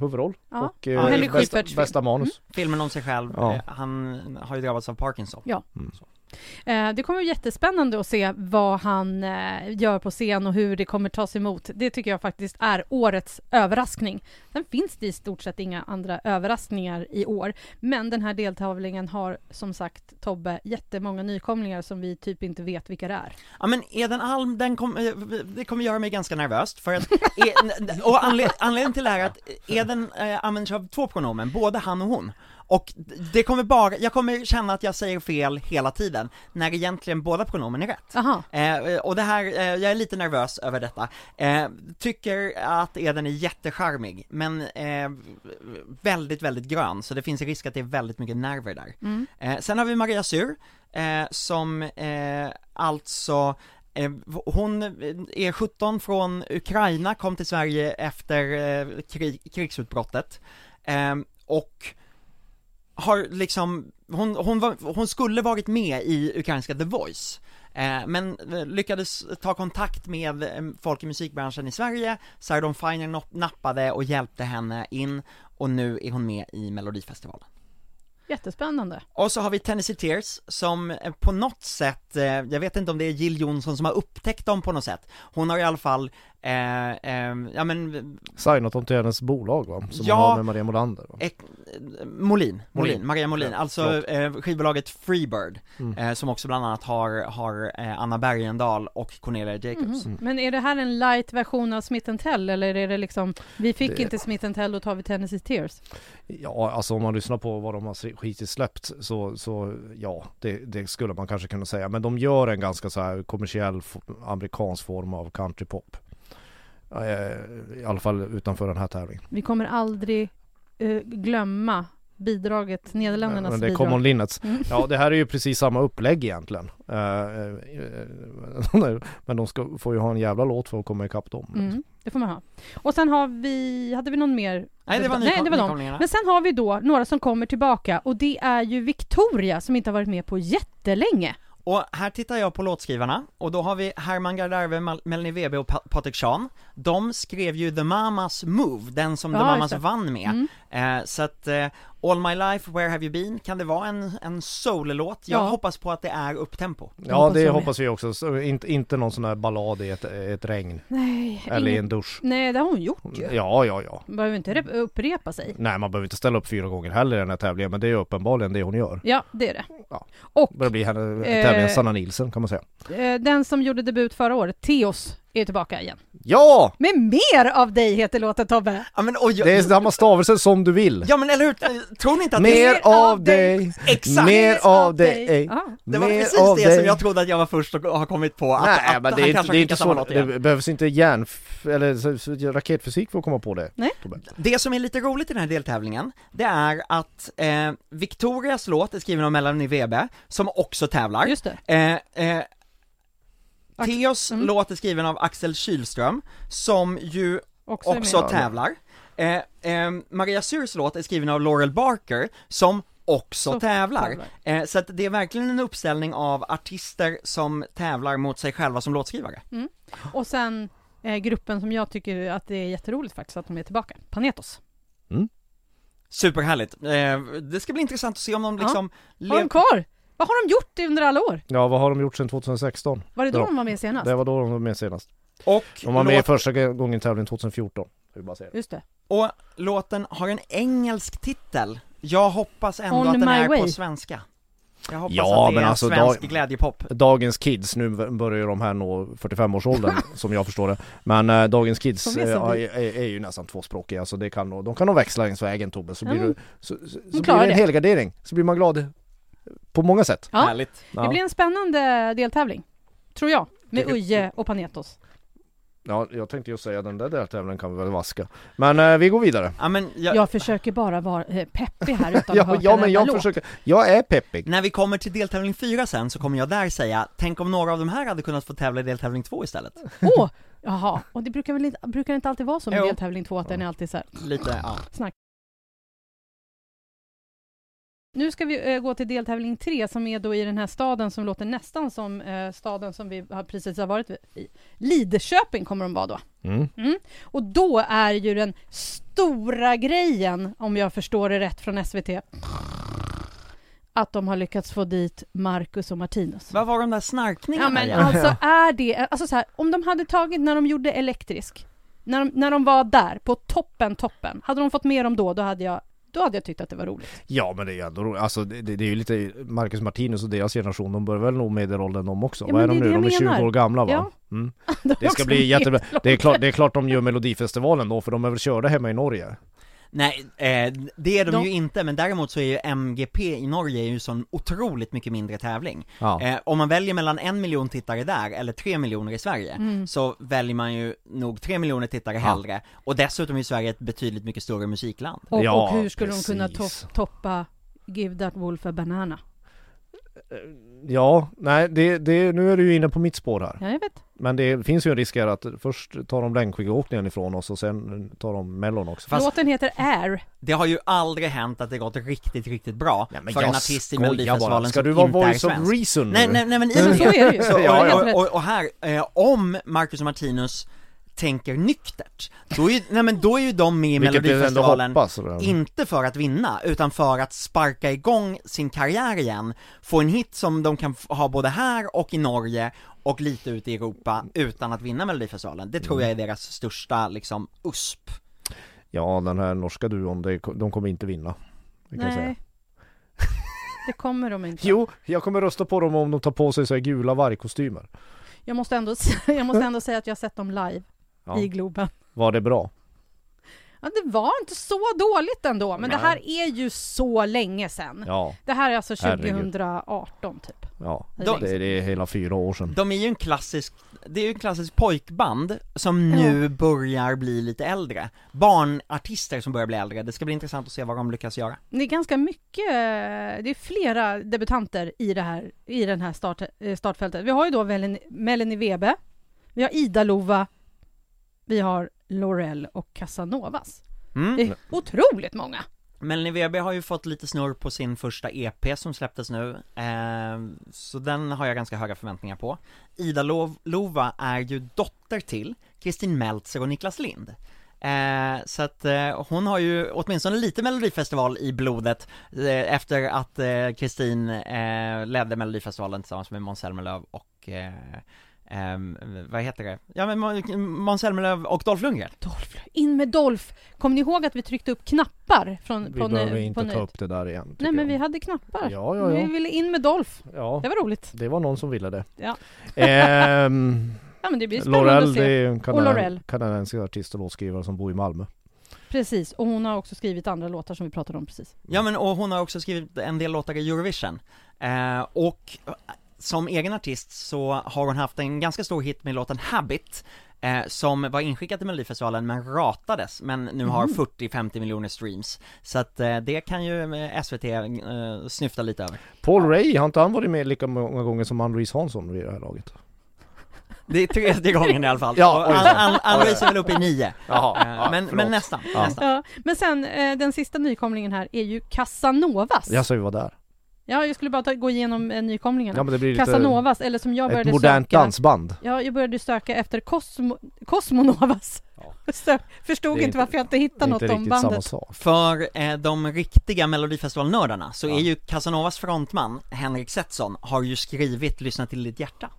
C: huvudroll
B: Ja.
C: och eh,
D: Ja, Henry
C: bästa,
B: Schyfferts
C: bästa manus.
D: Filmen om sig själv,
C: Ja.
D: eh, han har ju drabbats av Parkinson.
B: Mm.
C: Mm.
B: eh, det kommer bli jättespännande att se vad han eh, gör på scen och hur det kommer tas emot. Det tycker jag faktiskt är årets överraskning. Sen finns det i stort sett inga andra överraskningar i år. Men den här deltävlingen har som sagt Tobbe jättemånga nykomlingar som vi typ inte vet vilka det är.
D: Ja men Eden Alm, den kom, eh, det kommer göra mig ganska nervöst för att, e, n- och anled, anledningen till det här är att Eden eh, använder sig av två pronomen, både han och hon. Och det kommer bara, jag kommer känna att jag säger fel hela tiden, när egentligen båda pronomen är rätt.
B: Aha.
D: Eh, och det här, eh, jag är lite nervös över detta. Eh, tycker att Eden är jättecharmig, men eh, väldigt, väldigt grön, så det finns en risk att det är väldigt mycket nerver där.
B: Mm.
D: Eh, sen har vi Maria Syr, eh, som eh, alltså eh, hon är 17 från Ukraina, kom till Sverige efter eh, krig, krigsutbrottet eh, och har liksom, hon, hon, var, hon skulle varit med i ukrainska The Voice Eh, men eh, lyckades ta kontakt med eh, folk i musikbranschen i Sverige, Sardon Finer nopp- nappade och hjälpte henne in och nu är hon med i Melodifestivalen.
B: Jättespännande.
D: Och så har vi Tennessee Tears som eh, på något sätt, eh, jag vet inte om det är Jill Johnson som har upptäckt dem på något sätt. Hon har i alla fall, eh, eh, ja men,
C: Signat dem till hennes bolag va? Som
D: Ja.
C: hon har med Maria Molander. Va?
D: eh, Molin, Molin,
C: Molin.
D: Maria Molin,
C: Ja,
D: alltså
C: förlåt.
D: eh, skivbolaget Freebird,
C: Mm.
D: eh, som också bland annat har, har eh, Anna Bergendahl och Cornelia Jacobs.
C: Mm-hmm.
B: Men är det här en light version av Smith Tell eller är det liksom vi fick
C: Det-
B: inte Smith Tell, då tar vi Tennessee Tears?
C: Ja alltså om man lyssnar på vad de har skitit släppt så, så ja det, det skulle man kanske kunna säga. Men de gör en ganska så här kommersiell f- amerikansk form av countrypop. Eh, I alla fall utanför den här tävlingen.
B: Vi kommer aldrig eh, glömma bidraget, Nederländernas
C: Men det är
B: bidrag.
C: Common Linnets.
B: Mm.
C: Ja det här är ju precis samma upplägg egentligen. Eh, eh, eh, Men de ska, får ju ha en jävla låt för att komma ikapp dem.
B: Mm, det får man ha. Och sen har vi, hade vi någon mer?
D: Nej det var,
B: Nej,
D: nykom-
B: det var de.
D: nykomlingarna.
B: Men sen har vi då några som kommer tillbaka och det är ju Victoria som inte har varit med på jättelänge.
D: Och här tittar jag på låtskrivarna, och då har vi Herman Gardarve, Mal- Melanie Webe och pa- Patrik Sean. De skrev ju The Mamas Move, den som
B: Ja,
D: The
B: just
D: Mamas
B: det. Mm.
D: vann med. Eh, så att, eh, All My Life, Where Have You Been, kan det vara en, en soul-låt? Jag
B: Ja.
D: hoppas på att det är upptempo.
C: Ja
B: Hoppas
C: det
B: jag med.
C: hoppas vi också, så, inte, inte någon sån här ballad i ett, ett regn
B: Nej,
C: eller i
B: ingen...
C: en dusch
B: Nej, det har hon gjort ju.
C: Ja ja ja
B: Hon behöver inte rep- upprepa sig.
C: Nej man behöver inte ställa upp fyra gånger heller i den här tävlingen men det är ju uppenbarligen det hon gör
B: Ja, det är det.
C: Ja.
B: Och
C: Börjar bli henne,
B: Eh.
C: tävlingens Sanna Nilsen kan man säga
B: eh, den som gjorde debut förra året, Theos, är tillbaka igen.
C: Ja!
B: Med mer av dig heter låten Tobbe!
D: Ja men, och jag,
C: Det är samma stavelse som du vill
D: ja, men eller hur, tror ni inte att det,
C: Mer
B: mer
C: av
B: av
C: dig, mer
D: Exakt.
B: Mer
C: av
B: av
C: dig,
B: dig. Ja.
D: det var
C: mer
D: precis
C: av
D: det som
C: dig.
D: jag trodde att jag var först och har kommit på, att,
C: Nej men
D: att
C: det
D: han
C: är, inte,
D: kanske har
C: det är inte
D: skickat samma
C: så,
D: låt igen.
C: det behövs inte järn, eller så- så- raketfysik för att komma på det
B: Nej.
C: Tobbe.
D: Det som är lite roligt i den här deltävlingen, det är att eh, Victorias låt är skriven av Melanie Webe, som också tävlar.
B: Just det.
D: Eh, eh,
B: Ax-
D: Theos
B: Mm.
D: låt är skriven av Axel Kylström, som ju
B: Också, är med.
D: också tävlar. Eh, eh, Maria Syrs låt är skriven av Laurel Barker, som också
B: Så
D: tävlar.
B: tävlar.
D: Eh, så att det är verkligen en uppställning av artister som tävlar mot sig själva som låtskrivare.
B: Och sen eh, gruppen som jag tycker att det är jätteroligt faktiskt att de är tillbaka, Panetos.
D: Superhärligt. Eh, det ska bli intressant att se om de
B: Ja.
D: liksom...
B: Har de
D: lev-
B: kvar? Vad har de gjort under alla år?
C: Ja vad har de gjort sedan 2016?
B: Var det då
C: Ja.
B: de var med senast?
C: Det var då de var med senast
D: och
C: De var med
D: låt-
C: första gången i tävlingen 2014 vill bara säga. det.
B: Just det.
D: Och låten har en engelsk titel. Jag hoppas ändå
B: On
D: att den
B: my
D: är på
B: way.
D: svenska. Jag hoppas
C: Ja,
D: att det
C: men
D: är
C: alltså,
D: svensk
C: dag-
D: glädjepop.
C: Dagens kids, nu börjar ju de här nå 45-årsåldern som jag förstår det Men eh, dagens kids
B: De är
C: eh,
B: som
C: är,
B: vi.
C: är, är ju nästan tvåspråkiga så det kan nog, de kan nog växla längs vägen Tobbe så blir,
B: Mm.
C: du, så, så, så blir
B: klarar
C: det en
B: det.
C: helgardering, så blir man glad på många sätt
B: Ja.
D: Härligt.
C: Ja,
B: Det blir en spännande deltävling, tror jag, med
C: Tycker-
B: Uje och Panetos.
C: ja jag tänkte ju säga den där deltävlingen kan vi väl vaska Men eh, vi går vidare
D: Ja, men jag,
B: Jag försöker bara vara eh, peppig här utan att ha
C: Ja,
B: hört
C: ja
B: en
C: men
B: enda
C: jag
B: låt.
C: försöker, jag är peppig
D: När vi kommer till deltävling fyra sen så kommer jag där säga, tänk om några av de här hade kunnat få tävla i deltävling två istället.
B: Åh! Jaha, och det brukar väl inte, brukar det inte alltid vara så med
D: Jo.
B: deltävling 2 att den är alltid så här.
D: Lite, ja.
B: Nu ska vi eh, gå till deltävling 3 som är då i den här staden som låter nästan som eh, staden som vi har precis har varit i. Lidköping kommer de vara då.
C: mm.
B: Och då är ju den stora grejen, om jag förstår det rätt från SVT, att de har lyckats få dit Marcus och Martinus.
D: Vad var de där
B: Ja
D: snarkningarna
B: men
D: igen?
B: alltså är det, alltså så här, om de hade tagit när de gjorde elektrisk, när de, när de var där på toppen, toppen, hade de fått med dem då, då hade jag, då hade jag tyckt att det var roligt.
C: Ja men det är ju ändå roligt, alltså det, det, det är ju lite Marcus Martinus och deras generation, de börjar väl nå medelåldern de också?
B: Ja,
C: Vad är
B: men
C: de
B: det är
C: nu?
B: det
C: De är
B: jag
C: 20
B: menar.
C: år gamla va?
B: Ja.
C: Mm.
B: De
C: Det ska
B: också
C: bli
B: med.
C: jättebra. Det är, klart, det är klart de gör Melodifestivalen då, för de är väl körda hemma i Norge?
D: Nej, eh, det är de,
B: De-
D: ju inte, men däremot så är ju MGP i Norge ju sån otroligt mycket mindre tävling.
C: Ja.
D: Eh, om man väljer mellan en miljon tittare där, eller tre miljoner i Sverige,
B: Mm.
C: Mm.
D: så väljer man ju nog tre miljoner tittare hellre. Och dessutom är Sverige ett betydligt mycket större musikland.
B: Och,
C: Ja,
B: och hur skulle de kunna
C: precis.
B: to- toppa Give That Wolf a Banana?
C: Ja, nej, det, det, nu är du ju inne på mitt spår här.
B: Ja, jag vet.
C: Men det finns ju en risk här att först tar de längdskidåkningen ifrån oss och sen tar de Mellon också.
D: Fast-
B: Låten heter Air.
D: Det har ju aldrig hänt att det gått riktigt, riktigt bra för en artist i Melodifestivalen
C: Ska
D: som
C: du vara
D: inte är
C: voice of
D: svensk.
C: reason nu?
D: Nej, nej, nej men i
B: Nej, men så är det ju.
D: Så, och,
C: Ja,
B: ja.
D: Och, och, och här, eh, om Marcus och Martinus tänker nyktert, då är ju, nej men då är ju de med i
C: Vilket vi ändå
D: Melodifestivalen
C: hoppas. eller?
D: inte för att vinna, utan för att sparka igång sin karriär igen, få en hit som de kan f- ha både här och i Norge och lite ute i Europa utan att vinna Melodifestivalen. Det tror jag är deras största liksom USP.
C: Ja, den här norska duon, det, de kommer inte vinna. Det kan jag säga.
B: Nej. Det kommer de inte.
C: Jo, jag kommer rösta på dem om de tar på sig så här gula vargkostymer.
B: Jag måste, ändå, s- jag måste ändå säga att jag har sett dem live
C: Ja.
B: i Globen.
C: Var det bra?
B: Ja, det var inte så dåligt ändå, men
C: Nej.
B: det här är ju så länge sedan.
C: Ja,
B: Det här är alltså
C: Herregud.
B: 2018 typ.
C: ja.
B: De-
C: Det, det är hela fyra år sedan.
D: De är ju en klassisk, det är ju en klassisk pojkband som nu börjar bli lite äldre. Barnartister som börjar bli äldre, det ska bli intressant att se vad de lyckas göra.
B: Det är ganska mycket, det är flera debutanter i det här, i den här start, eh, startfältet. Vi har ju då Melanie, Melanie Webe, vi har Ida-Lova, vi har Laurel och Casanovas.
D: Mm.
B: Det är otroligt många!
D: Melanie Weber har ju fått lite snurr på sin första EP som släpptes nu, eh, så den har jag ganska höga förväntningar på. Ida Lov- Lova är ju dotter till Kristin Meltzer och Niklas Lind. Eh, så att eh, hon har ju åtminstone lite melodifestival i blodet eh, efter att eh, Kristin eh, ledde melodifestivalen tillsammans med Måns Zelmerlöw och eh, ehm, vad heter det? Ja men Må- Måns Zelmerlöw och Dolph Lundgren.
B: Dolph, in med Dolph! Kommer ni ihåg att vi tryckte upp knappar från,
C: Vi
B: på,
C: behöver
B: nu, på
C: inte ta
B: nytt?
C: upp det där igen tycker
B: Nej men vi
C: jag.
B: hade knappar.
C: Ja, ja,
B: Vi
C: ja.
B: ville in med Dolph.
C: ja.
B: Det var roligt.
C: Det var någon som ville det
B: Ja.
C: Ehm,
B: Ja men det blir spännande
C: Laurel
B: att
C: det
B: se.
C: är en
B: Och
C: kanad-
B: Laurel.
C: kanadensisk artist och låtskrivare som bor i Malmö
B: Precis, och hon har också skrivit andra låtar som vi pratade om precis.
D: Ja men och hon har också skrivit en del låtar i Eurovision. Eh, och eh, som egen artist så har hon haft en ganska stor hit med låten Habit, eh, som var inskickad till Melodifestivalen men ratades, men nu har
C: Mhm.
D: 40-50 miljoner streams. Så att eh, det kan ju eh, SVT eh, snyfta lite över.
C: Paul Ray, har inte han varit med lika många gånger som Ann-Louise Hansson vid det här laget?
D: Det är tredje gången i alla fall.
C: Ja,
D: Och
C: oj.
D: Ann- Ann- Ann-Louise är väl uppe i nio.
C: Jaha,
D: Eh, men, men nästan,
C: Ja.
D: nästan.
B: Ja, men sen eh, den sista nykomlingen här är ju Casanovas.
C: Jag sa ju var där
B: Ja, jag skulle bara ta, gå igenom eh, nykomlingarna.
C: Ja men det blir lite
B: Casanovas, eller som jag började
C: ett modernt
B: söka.
C: dansband
B: Ja, jag började söka efter Cosmo, Cosmonovas.
C: Ja.
B: Så, förstod
C: Det är
B: inte,
C: inte-
B: varför jag inte
C: Det är
B: hittade
C: inte
B: något om
C: riktigt samma
B: bandet.
C: sak
D: För eh, de riktiga melodifestivalnördarna så
C: Ja.
D: är ju Casanovas frontman Henrik Setsson har ju skrivit Lyssna till ditt hjärta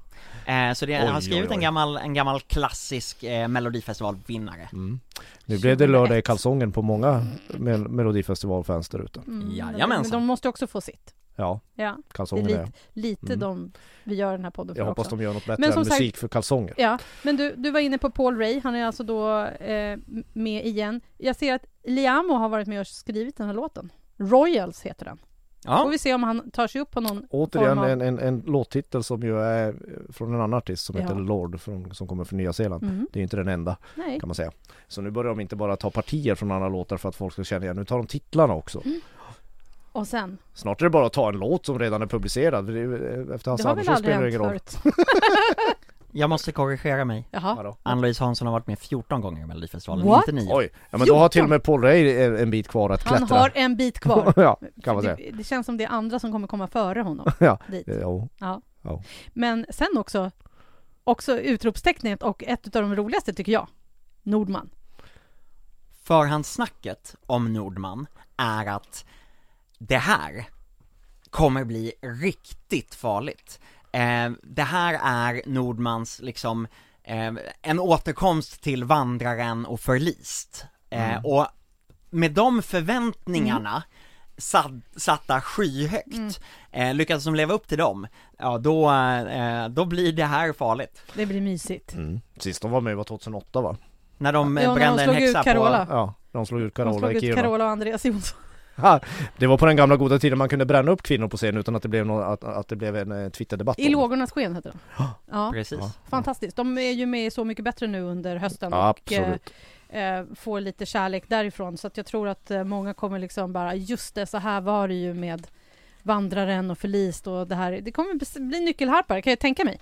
D: eh, Så det, han har
C: Oj,
D: skrivit
C: oj,
D: En,
C: oj.
D: gammal, en gammal klassisk eh, melodifestivalvinnare
C: Mm. Nu blev det lördag i kalsongen på många mel- melodifestivalfans där ute
B: Mm,
D: Jajamensan.
B: men de måste också få sitt.
C: Ja,
B: Ja, det är
C: kalsonger är
B: lite, lite
C: Mm.
B: de vi gör den här podden för
C: Jag hoppas
B: också.
C: de gör något bättre
B: Men som
C: än musik för kalsonger
B: Ja, men du, du var inne på Paul Ray, han är alltså då eh, med igen. Jag ser att Liamo har varit med och skrivit den här låten. Royals heter den. Får
D: Ja,
B: vi se om han tar sig upp på någon
C: Återigen
B: form av...
C: en, en, en låttitel som ju är eh, från en annan artist som
B: Ja.
C: heter Lord från, som kommer från Nya Zeeland
B: Mhm,
C: Det är inte den enda
B: nej.
C: kan man säga Så nu börjar de inte bara ta partier från andra låtar för att folk ska känna igen Nu tar de titlarna också
B: Mm. Och sen,
C: Snart är det bara att ta en låt som redan är publicerad för det är ju- eh, Efter Hasse
B: det har väl
C: Andersson
B: aldrig
C: spelar det ingen
B: hänt
C: roll
B: förut?
D: jag måste korrigera mig
B: Jaha.
C: Vadå?
D: Ann-Louise Hansson har varit med 14 gånger i melodifestivalen,
B: What?
D: inte 9
C: Oj, ja, men då har till
B: 14.
C: och med Paul Ray en, en bit kvar att
B: Han
C: klättra
B: har en bit kvar.
C: Ja, kan man säga
B: Det, det känns som det är andra som kommer komma före honom.
C: Ja,
B: dit.
C: Eh, jo.
B: Men sen också, också utropstecknet och ett av de roligaste tycker jag, Nordman.
D: Förhandssnacket om Nordman är att det här kommer bli riktigt farligt. Eh, det här är Nordmans liksom, eh, en återkomst till Vandraren och Förlist. Eh,
B: Mm.
D: Och med de förväntningarna sad- satta skyhögt,
B: Mm.
D: eh, lyckas de leva upp till dem, ja då, eh, då blir det här farligt.
B: Det blir mysigt.
C: Mm. Sist de var med var 2008 va?
D: När de eh,
B: Ja, när de
D: brände en
B: slog ut
D: häxa på...
B: Carola.
C: Ja, de slog ut
B: De
C: Carola
B: slog
C: i
B: ut
C: Kiruna
B: Carola och Andreas Jonsson.
C: Ha, Det var på den gamla goda tiden man kunde bränna upp kvinnor på scen utan att det blev, någon, att, att det blev en eh, twitterdebatt
B: I
C: om det.
B: lågornas sken heter den. Ja,
D: Precis.
C: Ja.
B: fantastiskt. De är ju med i Så mycket bättre nu under hösten och eh,
C: Absolut
B: eh, får lite kärlek därifrån. Så att jag tror att eh, många kommer liksom bara, just det, så här var det ju med Vandraren och Förlist och det här. Det kommer bes- bli nyckelharpare, kan jag tänka mig.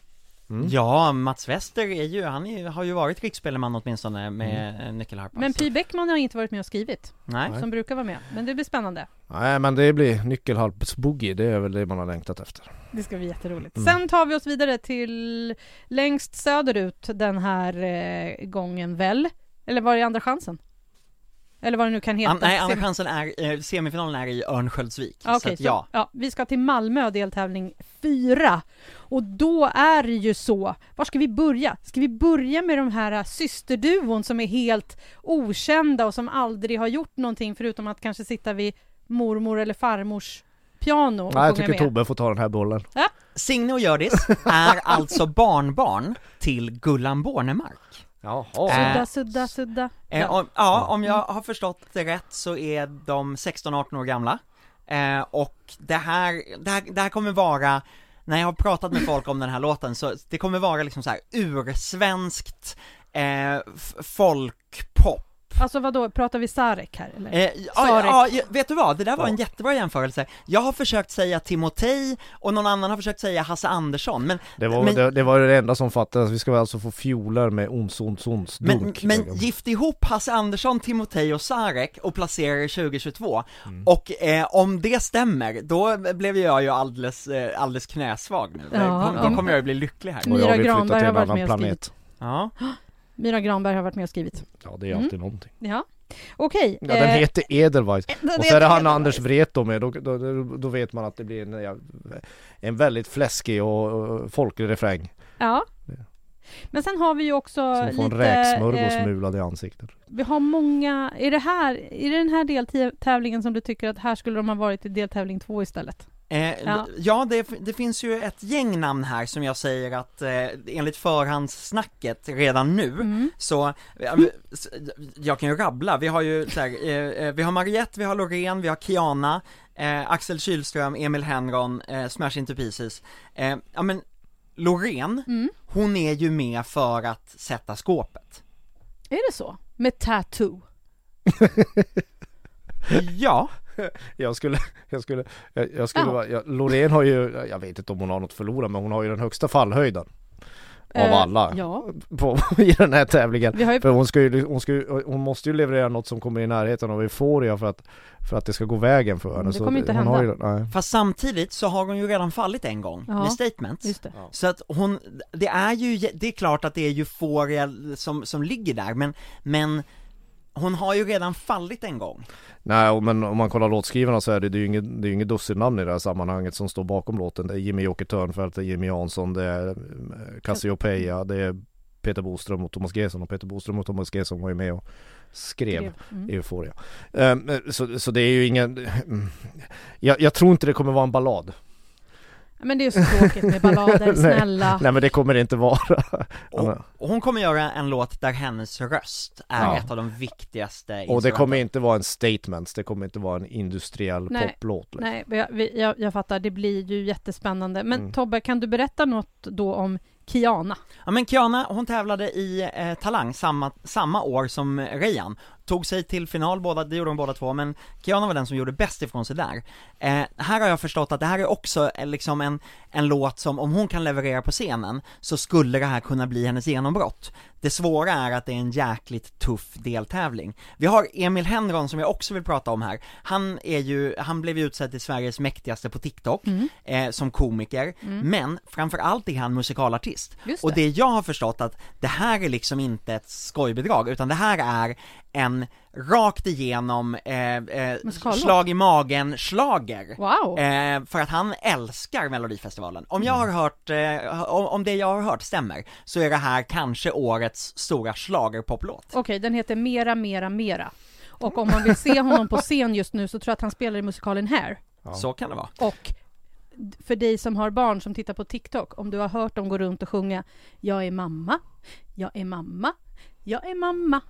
C: Mm.
D: Ja, Mats Wester är ju, han är, har ju varit riksspelman åtminstone med mm. nyckelharpa
B: Men
D: så-
B: Py Bäckman har inte varit med och skrivit,
D: Nej,
C: Nej.
B: som brukar vara med. Men det blir spännande.
C: Nej men det blir nyckelharpsboogie, det är väl det man har längtat efter
B: Det ska bli jätteroligt.
C: Mm.
B: Sen tar vi oss vidare till längst söderut den här eh, gången väl? Eller var det andra chansen? Eller vad det nu kan heta.
D: An, nej andra
B: Semi-
D: chansen är, eh, semifinalen är i Örnsköldsvik,
B: Ja,
D: så
B: Okej,
D: att ja
B: så, ja, vi ska till Malmö deltävling 4 och då är det ju så, var ska vi börja? Ska vi börja med de här ä, systerduon som är helt okända och som aldrig har gjort någonting förutom att kanske sitta vid mormor eller farmors piano och
C: Nej jag
B: sjunga
C: tycker
B: med?
C: Tobbe får ta den här bollen
D: Signe och Hjördis är alltså barnbarn till Gullan Bornemark
C: Jaha
D: Äh.
B: Sudda, sudda, sudda.
D: eh, om, Ja, om jag har förstått det rätt så är de 16-18 år gamla eh, Och det här, det här, det här kommer vara när jag har pratat med folk om den här låten så det kommer vara liksom så här ursvenskt eh, f- folkpop
B: Alltså vad då pratar vi Sarek här eller?
C: Äh.
D: Eh, ja,
B: Sarek.
D: ja, ja, vet du vad? Det där var en
C: Ja.
D: jättebra jämförelse. Jag har försökt säga Timotej och någon annan har försökt säga Hasse Andersson, men,
C: Det var,
D: Men-
C: det, det var det enda som fattades, vi ska alltså få fjolar med ons, ons, ons,
D: men,
C: dunk
D: men gift ihop Hasse Andersson, Timotej och Sarek och placera er 2022.
C: Mm.
D: Och eh, om det stämmer, då blev jag ju alldeles, eh, alldeles knäsvag nu.
B: Ja,
D: Kom-
C: ja.
D: Då kommer jag ju bli lycklig här.
B: Mm.
C: Och jag
B: Myra
C: vill flytta
B: Granberg
C: till
B: har
C: en
B: varit
C: annan
B: med och
C: planet
D: Ja.
B: Myra Granberg har varit med och skrivit.
C: Ja det är
B: Mm.
C: alltid någonting
B: Ja, okej. eh,
C: Ja den heter Edelweiss
B: den
C: Och så är det
B: heter
C: han
B: Edelweiss.
C: Anders Wreto med, då, då, då, då vet man att det blir en, ja, en väldigt fläskig och, och folklig refräng
B: Ja. Men sen har vi ju också
C: Som får en
B: lite...
C: räksmörgås
B: eh,
C: mulad i ansiktet
B: Vi har många... Är det här... Är det den här deltävlingen som du tycker att här skulle de ha varit i deltävling två istället?
D: Eh,
B: Ja.
D: ja, det, det finns ju ett gäng namn här som jag säger att eh, enligt förhandssnacket redan nu
B: Mm.
D: Så, ja, s- jag kan ju rabbla, vi har ju så här, eh, eh, vi har Mariette, vi har Loreen, vi har Kiana, eh, Axel Kylström, Emil Henron, eh, Smash Into Pieces. Eh, ja men, Loreen,
B: Mm.
D: hon är ju med för att sätta skåpet.
B: Är det så? Med tattoo?
D: Ja,
C: Jag skulle, jag skulle, jag, jag skulle
B: Ja.
C: vara, jag, Loreen har ju, jag vet inte om hon har något att förlora men hon har ju den högsta fallhöjden Av
B: Eh,
C: alla
B: Ja.
C: på, i den här tävlingen
B: Vi har ju...
C: För hon ska ju, hon ska ju, hon måste ju leverera något som kommer i närheten av euforia för att, för att det ska gå vägen för henne
B: Det kommer inte
C: hon
B: hända.
C: Har ju, nej.
D: fast samtidigt så har hon ju redan fallit en gång
B: Ja.
D: med statements.
B: Just det.
D: Så att hon, det är ju, det är klart att det är Euphoria som, som ligger där men, men hon har ju redan fallit en gång.
C: nej, och- men om man kollar låtskrivarna så är det, det är ju inget, det är ju inget dussin-namn i det här sammanhanget som står bakom låten Det är Jimmy Jocke Törnfeldt, det är Jimmy Jansson, det är eh, Cassiopeia, det är Peter Boström och Thomas Gesson och Peter Boström och Thomas Gesson var ju med och skrev
B: Mm.
C: Euphoria. Ehm, så, så det är ju ingen... eh, Jag, jag tror inte det kommer vara en ballad.
B: Men det är ju så tråkigt med ballader,
C: Nej.
B: snälla.
C: Nej men det kommer det inte vara. Ja,
D: Och,
C: men-
D: och hon kommer göra en låt där hennes röst är
C: Ja.
D: ett av de viktigaste
C: Och det
D: instrumenten.
C: kommer inte vara en statement, det kommer inte vara en industriell
B: Nej.
C: poplåt. liksom.
B: Nej, men jag, vi- jag, jag fattar. Det blir ju jättespännande. Men
C: Mm.
B: Tobbe, kan du berätta något då om Kiana?
D: Ja men Kiana, hon tävlade i eh, Talang samma, samma år som Rejan Tog sig till final båda, det gjorde de båda två, men Kiana var den som gjorde bäst ifrån sig där eh, Här har jag förstått att det här är också eh, liksom en, en låt som, om hon kan leverera på scenen Så skulle det här kunna bli hennes genombrott Det svåra är att det är en jäkligt tuff deltävling Vi har Emil Henron som jag också vill prata om här Han är ju, han blev ju utsedd till Sveriges mäktigaste på TikTok
B: Mm.
D: eh, Som komiker, men framförallt är han musikalartist
B: Just
D: och
B: det.
D: det jag har förstått att det här är liksom inte ett skojbidrag, utan det här är en rakt igenom eh, eh,
B: Musikallåt.
D: slag i magen slager
B: Wow!
D: Eh, för att han älskar melodifestivalen. Om jag har hört, eh, om, om det jag har hört stämmer, så är det här kanske årets stora schlagerpoplåt.
B: Okej, den heter Mera, Mera, Mera. Och om man vill se honom på scen just nu så tror jag att han spelar i musikalen Hair.
C: Ja.
D: Så kan det vara.
B: Och d- för dig som har barn som tittar på TikTok, om du har hört dem gå runt och sjunga Jag är mamma, jag är mamma, jag är mamma,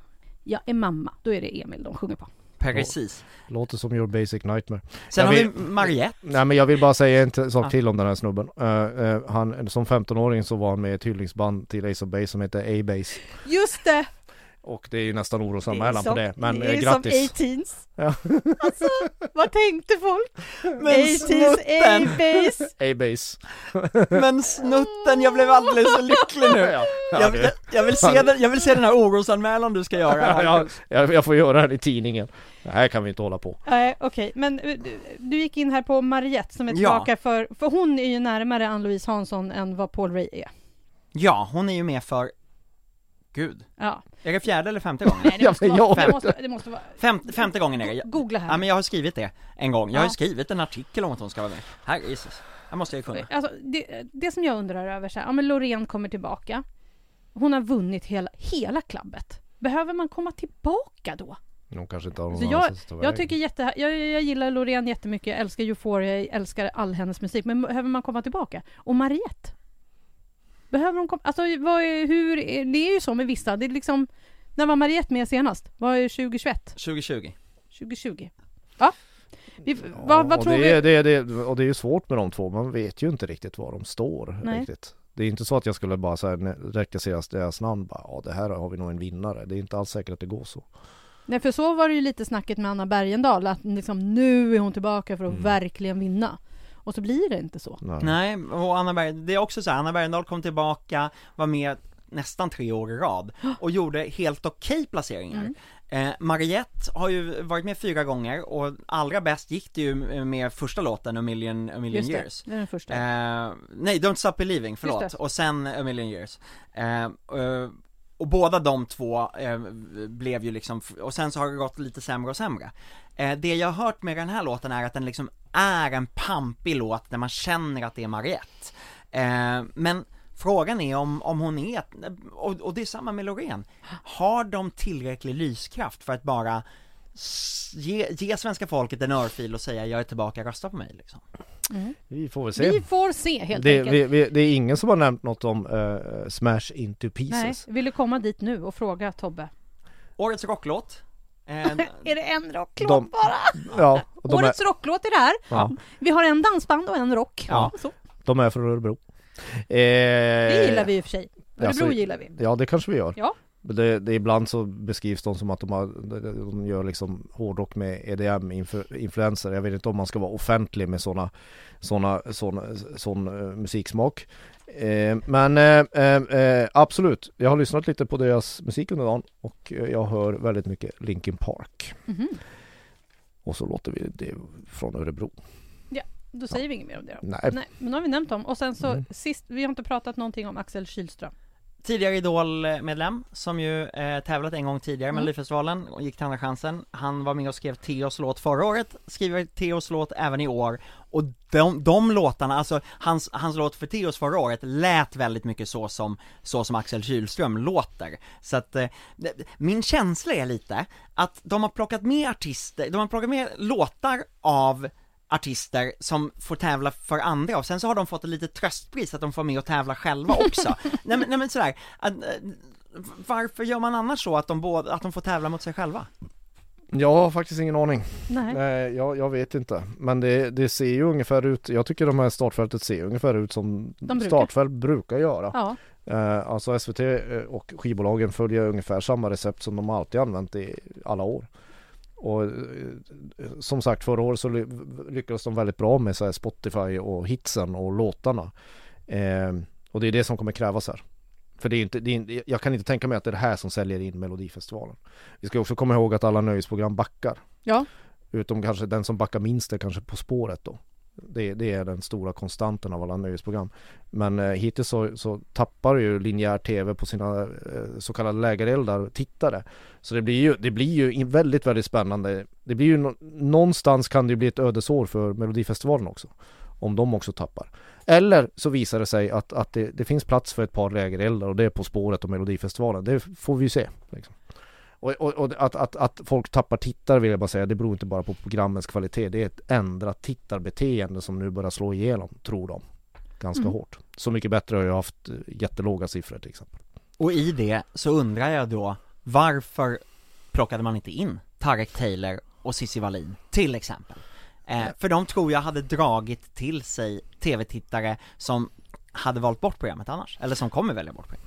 B: jag är mamma. Då är det Emil de sjunger på.
D: Precis.
C: Låter som Your Basic Nightmare.
D: Sen
C: Jag
D: har vi
C: vet-
D: Mariette.
C: Nej men jag vill bara säga en t- sak
D: Ja.
C: till om den här snubben. Eh, eh, han, som 15-åring så var han med i ett hyllningsband till Ace of Base som heter A-Base.
B: Just det!
C: Och det är ju nästan orosanmälan på det. Men
B: det är
C: eh,
B: som
C: grattis.
B: 18s.
C: Ja.
B: Alltså, vad tänkte folk?
D: Men
B: 18s,
D: snutten!
B: A-base.
C: A-Base.
D: Men snutten, jag blev alldeles så lycklig nu!
C: Ja,
D: Jag,
C: du-
D: jag, jag, vill se den, jag vill se den här orosanmälan du ska göra.
C: ja, jag, jag får göra det i tidningen. Det här kan vi inte hålla på.
B: Nej, okej, men eh, du, du gick in här på Mariette som är
D: Ja.
B: tillbaka för, för hon är ju närmare Ann-Louise Hansson än vad Paul Ray är.
D: Ja, hon är ju med för... Gud.
B: Ja.
D: Är det fjärde eller femte gången?
B: Nej, det
C: Ja,
B: måste
C: men
B: vara,
C: jag
B: det
C: vet
B: måste, det måste vara,
D: Fem, femte gången är det. Jag-
B: googla
D: Ja
B: här.
D: men jag har skrivit det en gång. Jag har
B: Ja.
D: ju skrivit en artikel om att hon ska vara med. Herre Jesus. Jag måste jag ju kunna.
B: Alltså, det, det som jag undrar över så här, ja men Loreen kommer tillbaka. Hon har vunnit hela, hela klabbet. Behöver man komma tillbaka då?
C: De kanske inte har någon
B: Så
C: annanstans att ta
B: Alltså, Jag
C: vägen.
B: tycker jätte, jag, jag gillar Loreen jättemycket, jag älskar Euphoria, jag älskar all hennes musik. Men behöver man komma tillbaka? Och Mariette? Behöver hon komma, alltså vad är, hur, är, det är ju så med vissa, det är liksom när var Mariette med senast? Var det 2021?
D: 2020.
B: 2020? Ja. Vi,
C: Ja,
B: vad, vad
C: och
B: tror
C: det,
B: vi?
C: är- det, är- det, är- och det är ju svårt med de två, man vet ju inte riktigt var de står
B: Nej.
C: riktigt. Det är inte så att jag skulle bara så här, ne- rekrytera deras namn bara, ja det här har vi nog en vinnare. Det är inte alls säkert att det går så.
B: Nej, för så var det ju lite snacket med Anna Bergendahl, att liksom, nu är hon tillbaka för att
C: Mm.
B: verkligen vinna. Och så blir det inte så.
C: Nej.
D: Nej, och Anna Berg, det är också så här, Anna Bergendahl kom tillbaka, var med nästan tre år i rad och gjorde helt okej placeringar.
B: Mm.
D: Eh, Mariette har ju varit med fyra gånger och allra bäst gick det ju med första låten A million, A million
B: Just det,
D: years.
B: det är den första.
D: Eh, nej, Don't Stop Believing, förlåt,
B: Just det.
D: och sen A million years. Eh, eh, och båda de två eh, blev ju liksom, och sen så har det gått lite sämre och sämre. Eh, det jag har hört med den här låten är att den liksom är en pampig låt där man känner att det är Mariette. Eh, men frågan är om, om hon är, och, och det är samma med Loreen, har de tillräcklig lyskraft för att bara s- Ge, ge svenska folket en örfil och säga jag är tillbaka, rösta på mig liksom.
C: Vi får väl se.
B: Mm. Vi får se helt
C: det,
B: enkelt.
C: vi, vi, det är ingen som har nämnt något om eh, Smash Into
B: Nej,
C: Pieces.
B: ville komma dit nu och fråga Tobbe.
D: Årets rocklåt. Eh,
B: Är det en rocklåt
C: De-
B: bara?
C: Ja, och de är,
B: Årets rocklåt är det här.
C: ja,
B: Vi har en dansband och en rock.
D: Ja.
B: Så.
C: de är från Örebro. Eh,
B: Det gillar vi i och för sig. Örebro
C: alltså-
B: gillar vi.
C: Eh, Ja, det kanske vi gör.
B: Ja.
C: Men Det, det, ibland så beskrivs de som att de, har, de gör liksom hårdrock med EDM-influenser. Jag vet inte om man ska vara offentlig med sådana såna, såna, sån eh, musiksmak. Eh, men eh, eh, eh, absolut, jag har lyssnat lite på deras musik under dagen och eh, jag hör väldigt mycket Linkin Park.
B: Mhm.
C: Och så låter vi det från Örebro.
B: Då säger vi inget mer om det då.
C: Nej,
B: Nej, men nu har vi nämnt dem. Och sen så
C: Mm.
B: sist, vi har inte pratat någonting om Axel Kylström.
D: Tidigare Idol-medlem som ju eh, tävlat en gång tidigare med
B: Mm.
D: Melodifestivalen och gick till Andra chansen. Han var med och skrev Theos låt förra året, skriver Theos låt även i år. Och de, de låtarna, alltså hans, hans låt för Theos förra året lät väldigt mycket så som, så som Axel Kylström låter. Så att, eh, det- min känsla är lite att de har plockat med artister, de har plockat med låtar av artister som får tävla för andra och sen så har de fått ett litet tröstpris att de får med och tävla själva också. nej, men, nej men sådär, att, eh, varför gör man annars så att de, båda, att de får tävla mot sig själva?
C: jag har faktiskt ingen aning.
B: Nej.
C: Nej, jag, jag vet inte. Men det, det ser ju ungefär ut, jag tycker de här startfältet ser ungefär ut som
B: brukar.
C: startfält brukar göra.
B: Ja.
C: Eh, alltså SVT eh, och skivbolagen följer ungefär samma recept som de alltid använt i alla år. Och eh, som sagt förra året så ly- lyckades de väldigt bra med så här Spotify och hitsen och låtarna. Eh, och det är det som kommer krävas här. För det är inte, det är, inte- jag kan inte tänka mig att det är det här som säljer in Melodifestivalen. Vi ska också komma ihåg att alla nöjesprogram backar.
B: Ja.
C: Utom kanske den som backar minst är kanske På spåret då. Det, det är den stora konstanten av alla nöjesprogram. Men eh, hittills så, så tappar ju linjär tv på sina eh, så kallade lägereldar tittare. Så det blir ju, det blir ju in- väldigt, väldigt spännande. Det blir ju nå- någonstans kan det ju bli ett ödesår för Melodifestivalen också. Om de också tappar. Eller så visar det sig att, att det, det finns plats för ett par lägereldar och det är På spåret och Melodifestivalen. Det får vi ju se. Liksom. Och, och, och att, att, att folk tappar tittare vill jag bara säga, det beror inte bara på programmens kvalitet. Det är ett ändrat tittarbeteende som nu börjar slå igenom, tror de. Ganska
B: Mm.
C: hårt. Så mycket bättre har jag haft eh, jättelåga siffror liksom. till exempel.
D: Och i det så undrar jag då, varför plockade man inte in Tarek Taylor och Cissi Wallin till exempel? Eh, för de tror jag hade dragit till sig tv-tittare som hade valt bort programmet annars, eller som kommer välja bort programmet.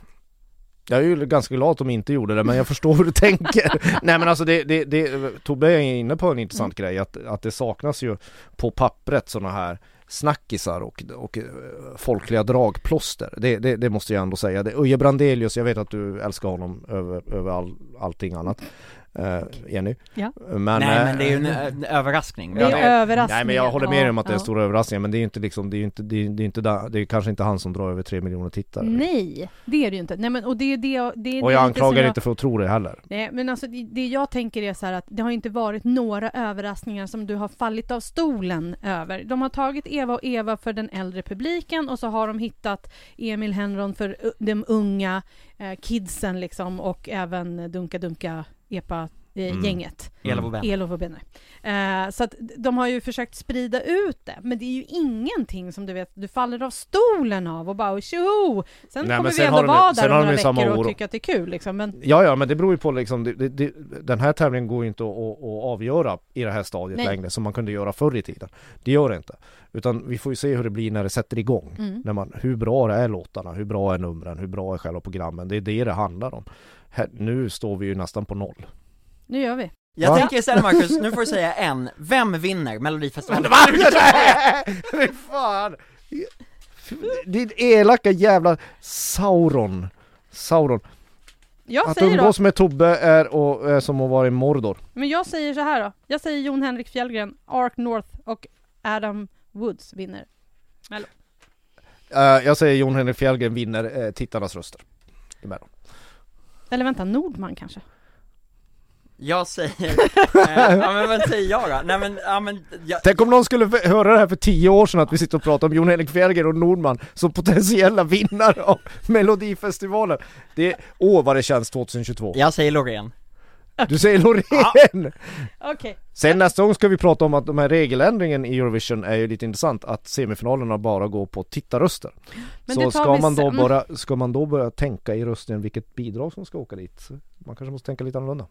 C: Jag är ju ganska glad att de inte gjorde det, men jag förstår hur du tänker. Nej men alltså det, det, det Tobbe är inne på en intressant
B: Mm.
C: grej, att, att det saknas ju på pappret sådana här snackisar och, och eh, folkliga dragplåster. Det, det, det måste jag ändå säga. Det, Uje Brandelius, jag vet att du älskar honom över, över all, allting annat. Eh, Jenny?
B: Ja.
C: Men,
D: Nej men
C: eh,
D: det är ju en, en överraskning.
B: Det är
C: Ja, det-
B: överraskningar.
C: Nej men jag håller med dig om att det är
B: Ja,
C: stora överraskningar men det är ju inte liksom, det är ju inte, det är, det är inte där, det är kanske inte han som drar över tre miljoner
B: ja.
C: tittare.
B: Nej, det är det ju inte. Nej, men, och det är det, jag- det är
C: och
B: det
C: jag
B: lite som
C: anklagar inte för att tro det heller.
B: Nej, men alltså det, det jag tänker är så här att det har inte varit några överraskningar som du har fallit av stolen över. De har tagit Eva och Eva för den äldre publiken och så har de hittat Emil Henron för u- de unga eh, kidsen liksom och även Dunka Dunka eh,
C: Mm.
B: EPA-gänget.
D: Ela Bobén.
B: Elof och Benny. Eh, så att de har ju försökt sprida ut det, men det är ju ingenting som du vet, du faller av stolen av och bara tjoho! Sen
C: Nej,
B: kommer
C: men
B: vi
C: sen
B: ändå
C: har de ju-
B: vara
C: sen
B: där om
C: har de
B: några
C: ju samma
B: veckor och
C: oro.
B: tycka att det är kul liksom, men
C: Ja, ja, men det beror ju på liksom, det, det, det, den här tävlingen går ju inte att, att, att avgöra i det här stadiet
B: Nej.
C: längre som man kunde göra förr i tiden. Det gör det inte. Utan vi får ju se hur det blir när det sätter igång.
B: mm.
C: När man, hur bra är låtarna, hur bra är numren, hur bra är själva programmen. Det är det det handlar om. Här, nu står vi ju nästan på noll.
B: Nu gör vi.
D: Jag
C: Va?
D: tänker istället Marcus, nu får du säga en, vem vinner
C: Men
D: melodifestivalen?
C: varför? Nej! Fy fan! Din elaka jävla Sauron Sauron
B: Jag
C: Att
B: säger då,
C: umgås med Tobbe är och, är som att vara i Mordor
B: men jag säger så här då. Jag säger Jon Henrik Fjällgren, Ark North och Adam Woods vinner.
C: Eh, Jag säger Jon Henrik Fjällgren vinner eh, tittarnas röster Emellan.
B: Eller vänta, Nordman kanske?
D: Jag säger, eh, ja men vad säger jag då? Nej men, ja men, jag,
C: Tänk om någon skulle f- höra det här för tio år sedan att vi sitter och pratar om Jon Henrik Fjällgren och Nordman som potentiella vinnare av Melodifestivalen Det, åh vad det känns 2022
D: jag säger Loreen
C: Du säger Loreen!
B: Okej.
C: Sen nästa gång ska vi prata om att de här regeländringen i Eurovision är ju lite intressant att semifinalerna bara går på tittarröster.
B: Men det
C: så
B: tar
C: ska
B: vi
C: man, då
B: sen. Mm.
C: bara, ska man då börja tänka i rösten vilket bidrag som ska åka dit? Man kanske måste tänka lite annorlunda.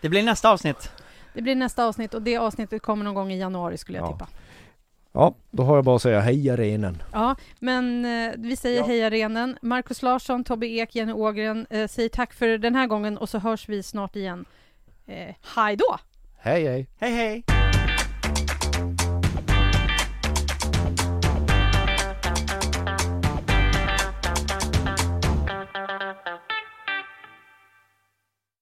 D: Det blir nästa avsnitt
B: Det blir nästa avsnitt och det avsnittet kommer någon gång i januari skulle jag
C: Ja.
B: tippa.
C: Ja, då har jag bara att säga hej arenen.
B: Ja, men eh, vi säger
C: Ja.
B: hej arenen. Markus Larsson, Tobbe Ek, Jenny Ågren eh, säger tack för den här gången och så hörs vi snart igen. Eh, hej då!
C: Hej hej!
D: Hej hej!